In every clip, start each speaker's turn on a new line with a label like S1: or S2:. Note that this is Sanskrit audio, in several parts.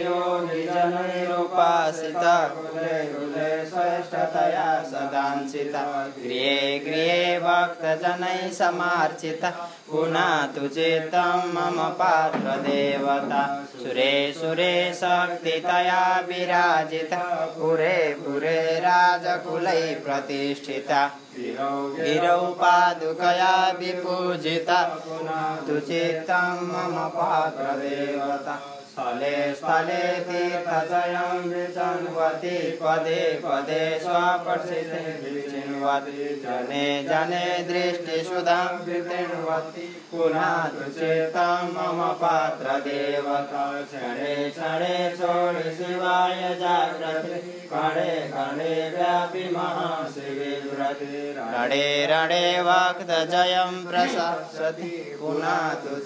S1: यो निजनैरुपासिता कुले कुले श्रेष्ठतया सदाञ्चिता गृहे गृहे भक्तजनैः समार्चिता पुनातु चेतं मम पात्रदेवता सुरे सुरे शक्तितया विराजिता पुरे पुरे राजकुलैः प्रतिष्ठिता गिरौ पादुकया विपूजिता पुनातु चेतं मम पात्रदेवता स्थले स्थले तीर्थजयं विचिन्वति पदे पदे स्वप्रसिद्धे विचिन्वति जने जने दृष्टिसुधां विचिन्वति पुनः चेतां मम पात्रदेवता क्षणे क्षणे सोरि शिवाय जाग्रति कणे कणे व्यापि महाशिवे व्रति रणे रणे वाक्तजयं प्रशासति पुनः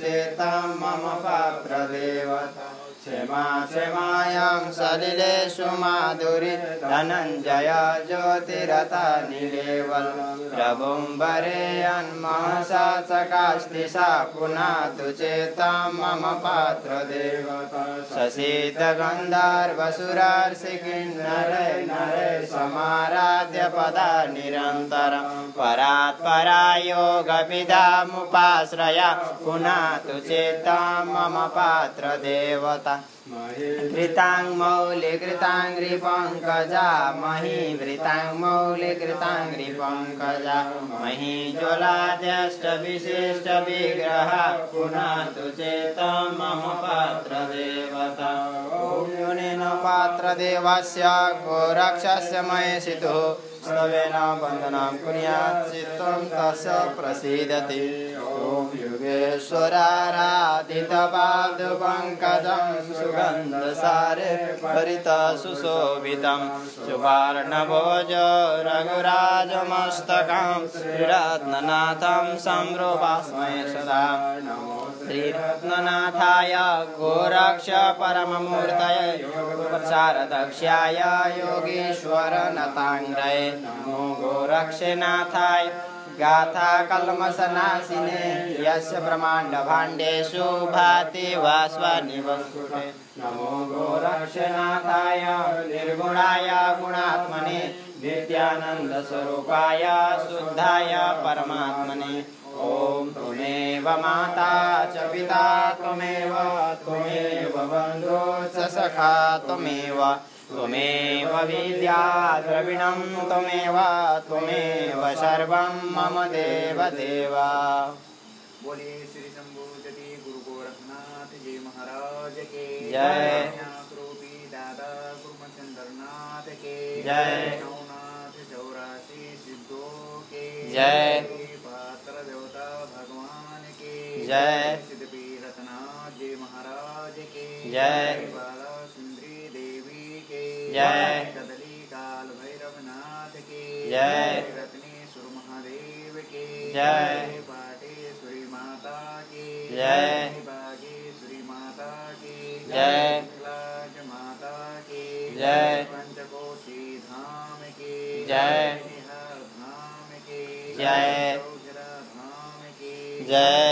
S1: चेतां मम पात्रदेवता क्षमा क्षमायां सलिलेषु माधुरि धनञ्जय ज्योतिरता निलेवल प्रभुं वरेयन्महसा चकास्ति सा पुनातु चेतां मम पात्रदेवता ससीतगन्धार्वसुरार्षिकिन्नरे नरे समाराध्य पदा निरन्तरं परात् परायोगविदामुपाश्रया पुनातु चेतां मम पात्रदेवता कृताङ्मौलिकृताङ्घ्रिपङ्कजा मही वृताङ्मौलिकृताङ्घ्रिपङ्कजा मही ज्वलाद्यष्टविशिष्टविग्रह पुनः तु चेत मम पात्रदेवता ॐ योनिन पात्रदेवस्य गोरक्षस्य मयसितुः स्तवेन वन्दनां कुर्यात् चित्तं तस्य प्रसीदति ॐ युगेश्वराराधितपादपङ्कजं सुगन्धसारे परितः सुशोभितं सुवर्णभोज रघुराजमस्तकां श्रीरत्ननाथं संरूपास्मय सदा श्रीरत्ननाथाय गोरक्ष परममूर्तये योगोपचारदक्षाय योगीश्वरनताङ्ग्रये नमो गोरक्षनाथाय गाथा कल्मषनाशिने यस्य ब्रह्माण्डभाण्डेषु भाति वास्वनिवस्कुटे नमो गोरक्षनाथाय निर्गुणाय गुणात्मने नित्यानन्दस्वरूपाय शुद्धाय परमात्मने ॐ त्वमेव माता च पिता त्वमेव त्वमेव बन्धो च सखा त्वमेव त्वमेव विद्या द्रविणं त्वमेव त्वमेव सर्वं मम देव देवा
S2: बोले श्री शंभू जति गुरु गोरखनाथ जय महाराज के
S1: जय।
S2: आक्रोपी दादा गुरुमचंद्र नाथ के
S1: जय।
S2: नवनाथ चौरासी सिद्धो के
S1: जय।
S2: श्री पात्र देवता भगवान के
S1: जय।
S2: सिद्धपी रत्नाथ जय महाराज के
S1: जय।
S2: श्री बाला सुंदरी देवी के
S1: जय।
S2: कदली काल भैरव नाथ के
S1: जय।
S2: श्री रत्नेश्वर महादेव के
S1: जय।
S2: बागेश्वरी माता की
S1: जय।
S2: बागेश्वरी माता की
S1: जय।
S2: विकलाज माता की
S1: जय।
S2: पंचकोशी धाम की
S1: जय।
S2: निहार धाम की
S1: जय।
S2: चौघरा धाम की
S1: जय।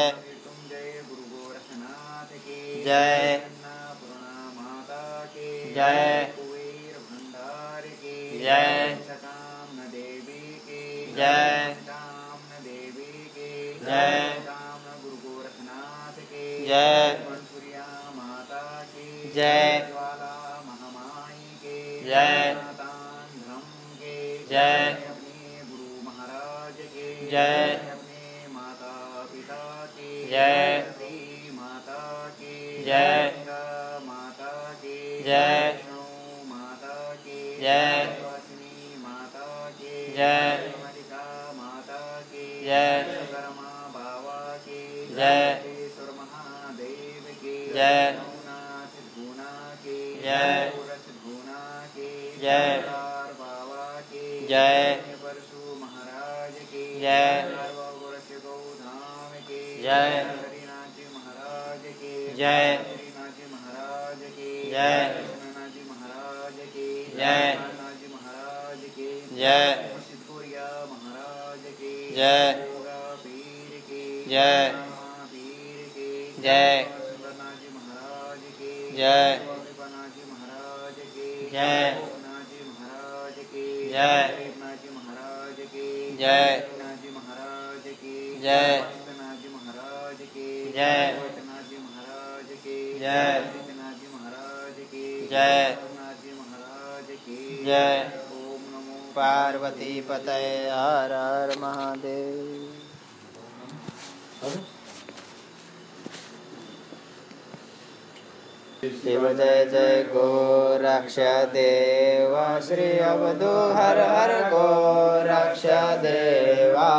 S2: तुम जय गुरु गोरखनाथ की
S1: जय।
S2: अन्नपूर्णा माता की
S1: जय।
S2: कुबेर भंडार की
S1: जय।
S2: सकामन देवी की
S1: जय।
S2: कामन देवी की
S1: जय।
S2: कामन गुरु गोरखनाथ की
S1: जय।
S2: कर्पूरिया माता की
S1: जय।
S2: ज्वाला महामाई की
S1: जय।
S2: मातान्ध्रम की
S1: जय।
S2: अपने गुरु महाराज की
S1: जय।
S2: अपने माता पिता की
S1: जय।
S2: धरती माता की
S1: जय।
S2: गंगा माता की
S1: जय।
S2: वैष्णो माता की
S1: जय।
S2: वासिनी माता की
S1: जय।
S2: मलिका माता की
S1: जय।
S2: शर्मा बाबा की
S1: जय।
S2: सिद्धेश्वर महादेव की
S1: जय।
S2: नवनाथ गुना की
S1: जय।
S2: पूरस गुना की
S1: जय।
S2: शंकर बाबा की
S1: जय।
S2: परशु महाराज की
S1: जय।
S2: सर्वगुरस गौधाम की
S1: जय।
S2: हरिनाथ जी महाराज की
S1: जय।
S2: हरिनाथ जी महाराज की
S1: जय।
S2: कृष्णनाथ जी महाराज की
S1: जय।
S2: नाथ जी महाराज की
S1: जय।
S2: सिद्धपुरिया महाराज की
S1: जय।
S2: योगा पीर की
S1: जय।
S2: रामा पीर की
S1: जय।
S2: सुंदरनाथ जी महाराज की
S1: जय।
S2: गोपीनाथ
S1: जय।
S2: रघुनाथ जी महाराज की
S1: जय।
S2: रघुनाथ जी महाराज की
S1: जय।
S2: रघुनाथ जी महाराज की
S1: जय।
S2: रघुनाथ जी महाराज की
S1: जय।
S2: रघुनाथ जी महाराज की
S1: जय।
S2: रघुनाथ जी महाराज की
S1: जय।
S2: रघुनाथ जी महाराज की
S1: जय।
S2: ओम नमो
S1: पार्वती पतये हर हर महादेव शिव जय जय गो रक्ष देवा श्री अवधू हर हर गो रक्ष देवा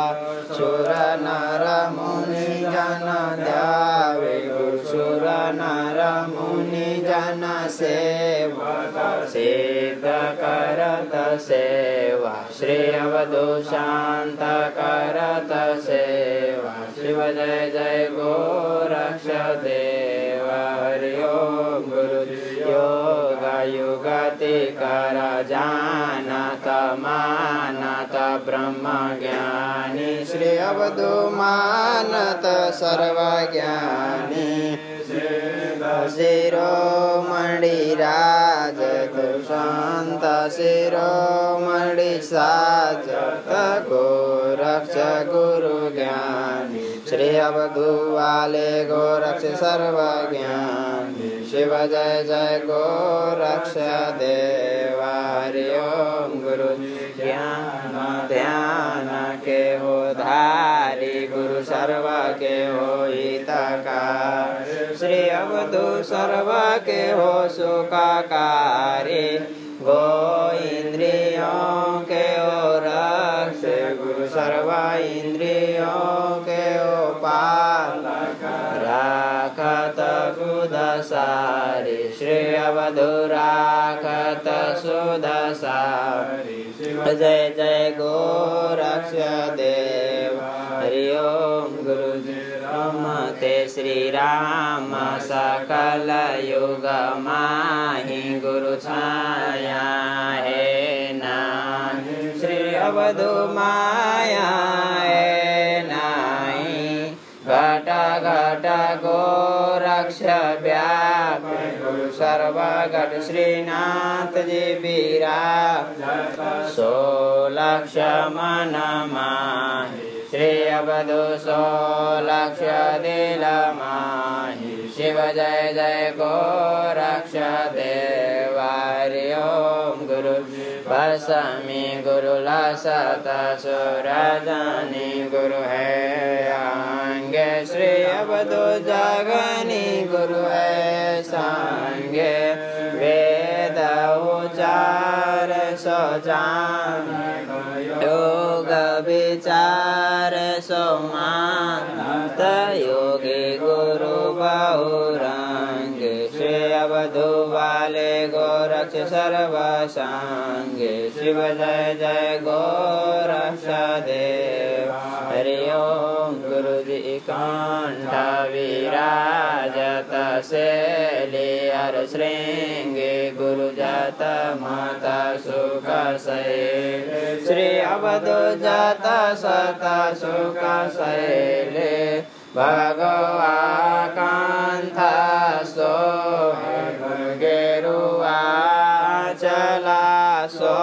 S1: सुर नर मुनि जन द्यावे गो सुर नर मुनि जन सेवा सिद्ध करत सेवा श्री अवधू शांत करत सेवा शिव जय जय गो रक्ष देवा हरि ओम गुरु योग युगति कर जानत मानत ब्रह्म ज्ञानी श्री अवधु मानत सर्व ज्ञानी शिरो मणिराज शांत शिरो मणि साज गोरक्ष गुरु ज्ञानी श्री अवधु वाले गोरक्ष सर्व ज्ञानी शिव जय जय गोरक्ष देवा हरि ओम गुरु ज्ञान ध्यान के हो धारी गुरु सर्व के हो हितकार श्री अवधु सर्व के हो सुखाकारी गो इंद्रियों के ओ रक्ष गुरु सर्व इंद्रियों के ओ पालक राखत सुदसारी श्री अवधु राखत सुदसारी जय जय गोरक्ष देव हरि ओम गुरु रमते श्री राम सकल युग माहि गुरु छाया हे नाहि श्री अवधु माया हे नाहि घट घट गोरक्ष व्याप गुरु सर्वघट श्रीनाथ जी बीरा सो लक्ष मन माहि श्री अवधु सो लक्ष दिल माहि शिव जय जय गोरक्ष देवारि ओम गुरु भसमी गुरु लसत सुरजनी गुरु है आंगे श्री अवधु जगनी गुरु है सांगे वेद उचार सजान योग विचार सोमात योगी गुरु बहुरंग श्री अवधु वाले गोरक्ष सर्व संग शिव जय जय गोरक्ष देव हरि ओम गुरु जी कंठ विराजत शैली हर श्रृंगे गुरु जात माता सुख सैले श्री अवधु जात सत सुख सैले भगवा कांथ सो गेरुआ चला सो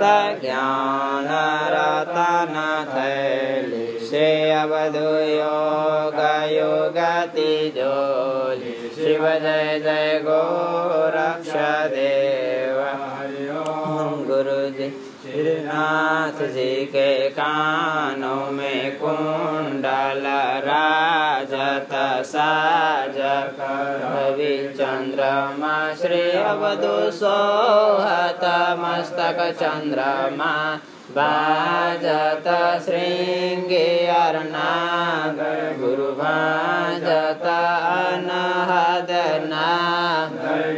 S1: त ज्ञान रतन थैले श्री अवधु योग योगति जोली शिव जय जय गोरक्ष देव हरि ओम गुरु जी श्रीनाथ जी के कानों में कुंडल राजत साज रवि चंद्रमा श्री अवधु सोहत मस्तक चंद्रमा बाजत श्रृंगे अर्नाग गुरु भाजत अनहदना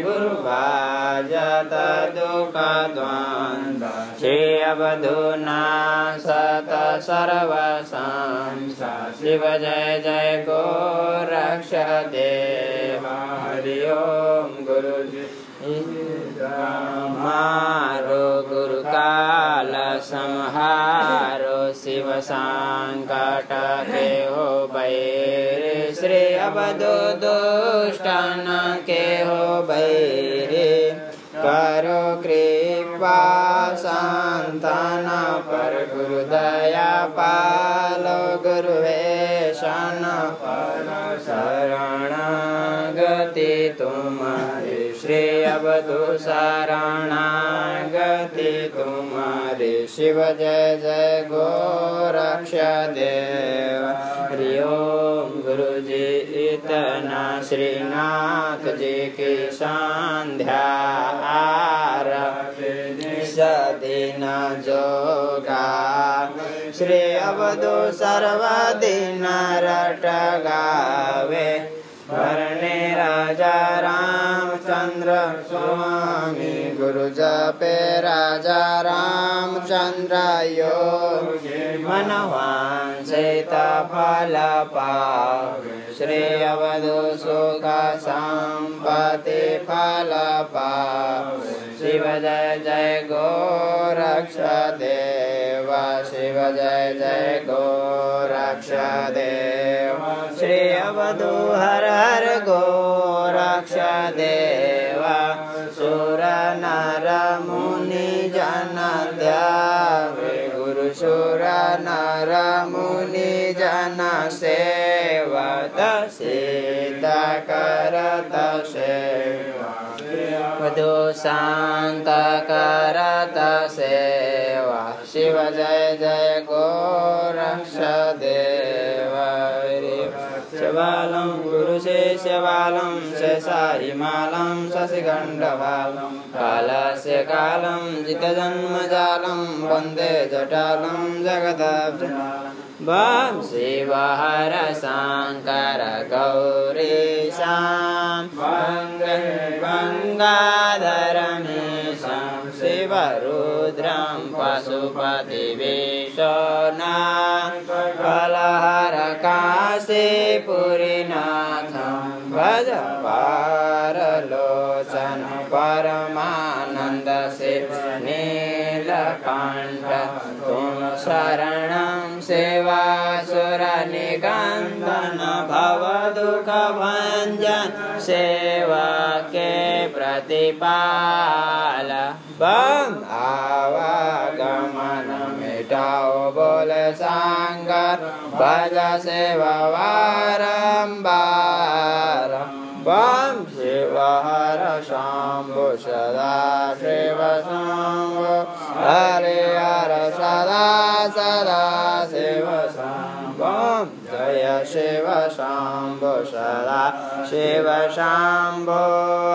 S1: गुरु भाजत दुख द्वंद श्री अवधुना सत सर्व संसार शिव जय जय गो रक्ष देव हरि ओम गुरु मारो गुरु काल संहारो शिव संकट के हो बैरे श्री अवधु दुष्टन के हो बैरे करो कृपा संतान पर गुरु दया पालो गुरु वेशन पालो शरण गति तुम्हारे श्री अवधु शरणागति तुम्हारे शिव जय जय गोरक्ष देव हरि ओम गुरु जी इतना श्रीनाथ जी की संध्या आरती सदिन जोगा श्री अवधु सर्वदिन रट गावे भरणे राजा रामचंद्र स्वामी गुरु जपे राजा रामचंद्र योगी मनवान सीता फल पावे श्री अवधु सुख संपति फल पावे शिव जय जय गोरक्ष देव शिव जय जय गोरक्ष देव श्री अवधु हर हर गोरक्ष देव सुर नर मुनि जन ध्यावे गुरु सुर नर मुनि जन सेवा दसीता करत सेवा वधु शान्त करत सेवा शिव जय जय गोरक्ष देव शिवालं गुरुशेषवालं शेषाहिमालं शशिखण्डवालं कालस्य कालं जितजन्मजालं वन्दे जटालं जगदब्जनालं वां शिवहर शाङ्कर गौरीशां वन्दे गङ्गाधरमेशं शिवरुद्रं पशुपतिवेशना कलहर काशीपुरीनाथं भज पारलोचन परमानन्द शिव नीलकण्ठ तुम शरणं सेवासुरनिकन्दन भवदुःखभञ्जन सेवके प्रतिपाल बम आवागमन मिटाओ बोल सांग भज सेवा वारंबार बम शिव हर शंभु सदा शिव शंभु हरे हर सदा सदा शिव शंभु जय शिव शंभु सदा शिव शंभो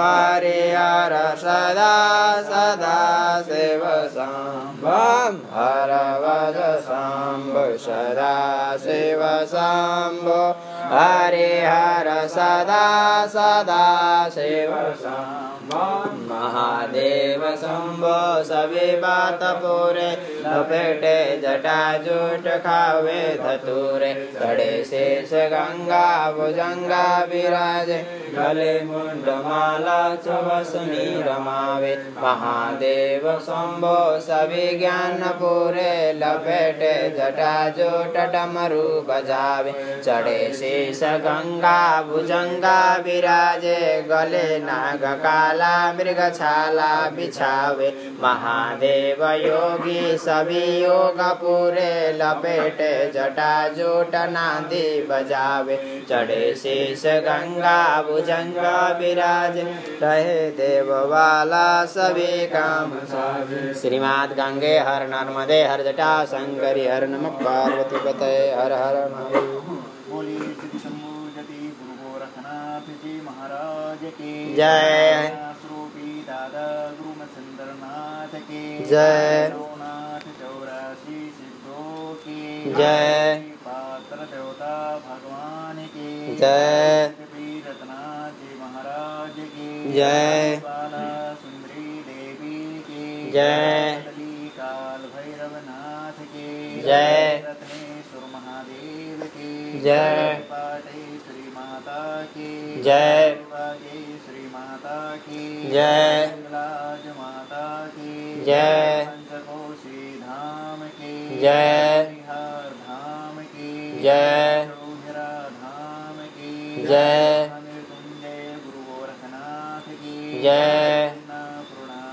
S1: हरे हर सदा सदा शिव शम्भं हर वज शम्भो सदा शिव शम्भो हरे हर सदा सदा शिव शम्भं महादेव शम्भो सवे बात पूरे लपेटे जटा जूट खावे धतूरे तड़े शेष गंगा भुजंगा विराजे गले मुंड माला चवसमी रमावे महादेव शंभो सभी ज्ञान पूरे लपेटे जटा जो टमरु बजावे चढ़े शेष गंगा भुजंगा विराजे गले नाग काला मृग छाला बिछावे महादेव योगी सभी योग पूरे लपेटे जटा जोट नादी बजावे चढ़े शेष गंगा भुजंगा विराज रहे देव वाला सभी काम साजे। श्रीमाद गंगे हर नर्मदे हर जटा शंकरी हर नम पार्वती पते हर हर महादेव।
S2: बोलिए श्री शंभू जति गुरु गोरखनाथ जी महाराज के
S1: जय।
S2: स्वरूपी दादा गुरु मत्स्येंद्र नाथ के
S1: जय।
S2: भैरवनाथ चौरासी सिद्धों के
S1: जय।
S2: पात्र देवता भगवान के
S1: जय।
S2: श्री रत्नाथ जी महाराज के
S1: जय।
S2: बाला सुंदरी देवी के
S1: जय।
S2: काली काल भैरवनाथ के
S1: जय।
S2: रत्नेश्वर महादेव के
S1: जय।
S2: पाटे श्री माता की
S1: जय।
S2: पाटे श्री माता की
S1: जय।
S2: राज माता की
S1: जय।
S2: पंचकोशी धाम की
S1: जय।
S2: बिहार धाम की
S1: जय।
S2: चौहिरा धाम की
S1: जय।
S2: हमें तुम जय गुरु गोरखनाथ की
S1: जय।
S2: अन्नपूर्णा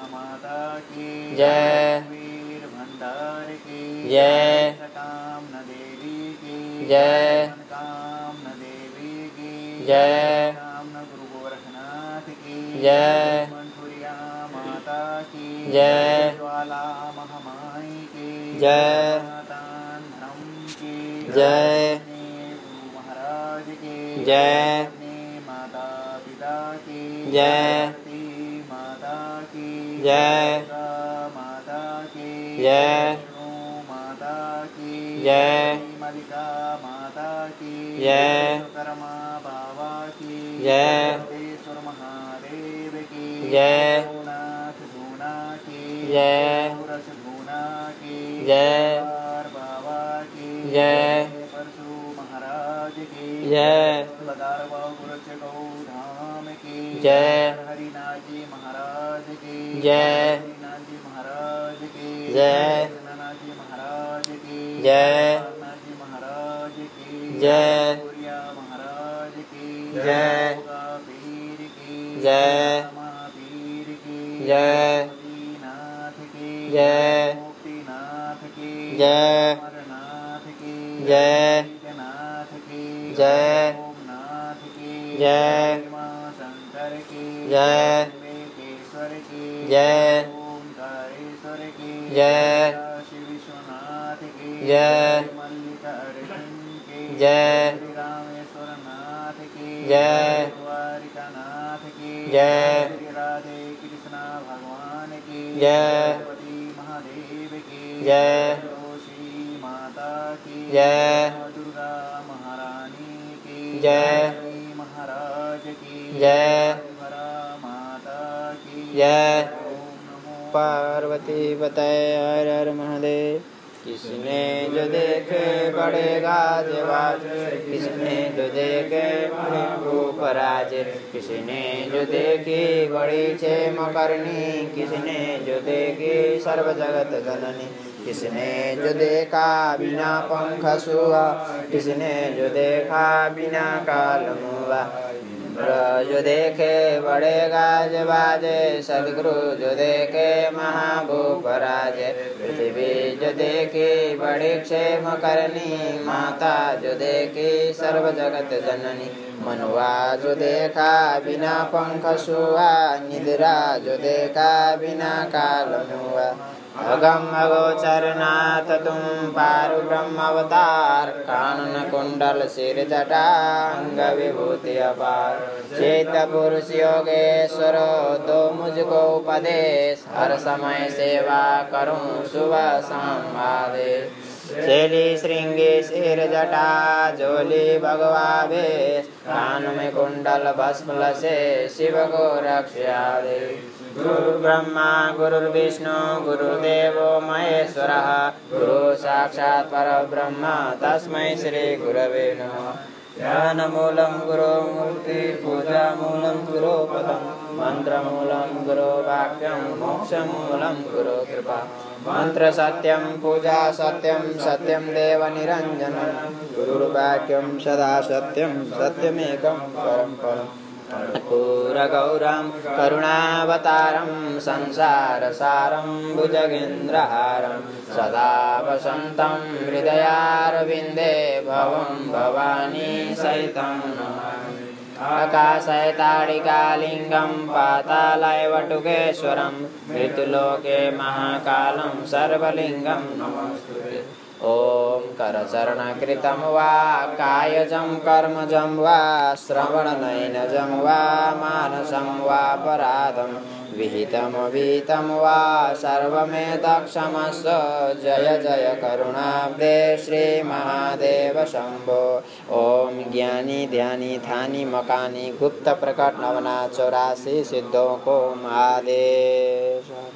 S1: जय।
S2: वीर भंडार की
S1: जय।
S2: कामना देवी की
S1: जय।
S2: कामना देवी की
S1: जय।
S2: कामना गुरु गोरखनाथ की
S1: जय।
S2: मंठुरिया माता की
S1: जय।
S2: ज्वाला महामाई की
S1: जय।
S2: मातान्धरम की
S1: जय।
S2: अपने गुरु महाराज की
S1: जय।
S2: अपने माता पिता की
S1: जय।
S2: धरती माता की
S1: जय।
S2: दुर्गा माता की
S1: जय।
S2: विष्णु माता की
S1: जय।
S2: मलिका माता की
S1: जय।
S2: विश्वकर्मा बाबा की
S1: जय।
S2: सर्वेश्वर महादेव की
S1: जय।
S2: भूनाथ धूना की
S1: जय।
S2: रस धूना की
S1: जय।
S2: पार बाबा की
S1: जय।
S2: परशु महाराज की
S1: जय।
S2: लदार गुरच गौ धाम की
S1: जय।
S2: हरिनाथ जी महाराज की
S1: जय।
S2: हरिनाथ जी महाराज की
S1: जय।
S2: नानाजी महाराज की
S1: जय।
S2: नानाजी महाराज की
S1: जय।
S2: सूर्या महाराज की
S1: जय।
S2: दुर्गा पीर की
S1: जय।
S2: महावीर की
S1: जय।
S2: मोदीनाथ की
S1: जय।
S2: मुक्तिनाथ की
S1: जय।
S2: अमरनाथ की
S1: जय।
S2: जगन्नाथ की
S1: जय।
S2: ओमनाथ की
S1: जय।
S2: माँ शंकर की
S1: जय।
S2: त्रिमेकेश्वर की
S1: जय।
S2: ओंकारेश्वर की
S1: जय।
S2: श्री विश्वनाथ की
S1: जय।
S2: मल्लिकार्जुन की
S1: जय।
S2: श्री रामेश्वर नाथ की
S1: जय।
S2: द्वारिका नाथ की
S1: जय।
S2: श्री राधे कृष्णा भगवान की
S1: जय।
S2: पति महादेव की
S1: जय।
S2: तुलसी माता की
S1: जय।
S2: माँ दुर्गा महारानी की
S1: जय।
S2: श्री महाराज की
S1: जय।
S2: हरा माता की
S1: जय।
S2: ओम नमो
S1: पार्वती बताए हर हर महादेव किसने जो देखे पड़ेगा देवाज किसने जो देखे पड़े वो पराज किसने जो देखी बड़ी छे मकरनी किसने जो देखी सर्व जगत जननी किसने जो देखा बिना पंख सुआ किसने जो देखा बिना काल मुआ इंद्र जो देखे बड़े गाज बाजे सदगुरु जो देखे महाभूप राजे पृथ्वी जो देखी बड़ी क्षेम करनी माता जो देखी सर्व जगत जननी मनुआ जो देखा बिना पंख सुआ निद्रा जो देखा बिना काल मुआ अगम अगोचर नाथ तुम पारु ब्रह्म अवतार कानन कुंडल सिर जटा अंग विभूति अपार चेत पुरुष योगेश्वर दो मुझको उपदेश हर समय सेवा करूं सुबह शाम आदेश शैली श्रृंगे सिर जटा झोली भगवा भेष कान में कुंडल भस्म लसे शिव को रक्षा दे गुरु ब्रह्मा गुरु विष्णु गुरुदेव महेश्वर गुरु साक्षात् परब्रह्म तस्मै श्री गुरवे नमः ध्यानमूलं गुरुमूर्ति पूजामूलं गुरुपदं मन्त्रमूलं गुरुवाक्यं मोक्षमूलं गुरुकृपा मन्त्रसत्यं पूजा सत्यं सत्यं देवनिरञ्जनं गुरुवाक्यं सदा सत्यं सत्यमेकं परं परम् कर्पूरगौरं करुणावतारं संसारसारं भुजगेन्द्रहारं सदा वसन्तं हृदयारविन्दे भवं भवानी सहितं नमामि आकाशयताडिकालिङ्गं पातालय वटुकेश्वरं मृत्युलोके महाकालं सर्वलिङ्गं नमस्तुते ॐ करचरणकृतं वा कायजं कर्मजं वा श्रवणनयनजं वा मानसं वा पराधं विहितं विहितं वा सर्वमेतक्षमस्व जय जय करुणाब्दे श्रीमहादेव शम्भो ॐ ज्ञानी ध्यानी थानी मकानी गुप्त प्रकट नवना चौरासी सिद्धों को महादेव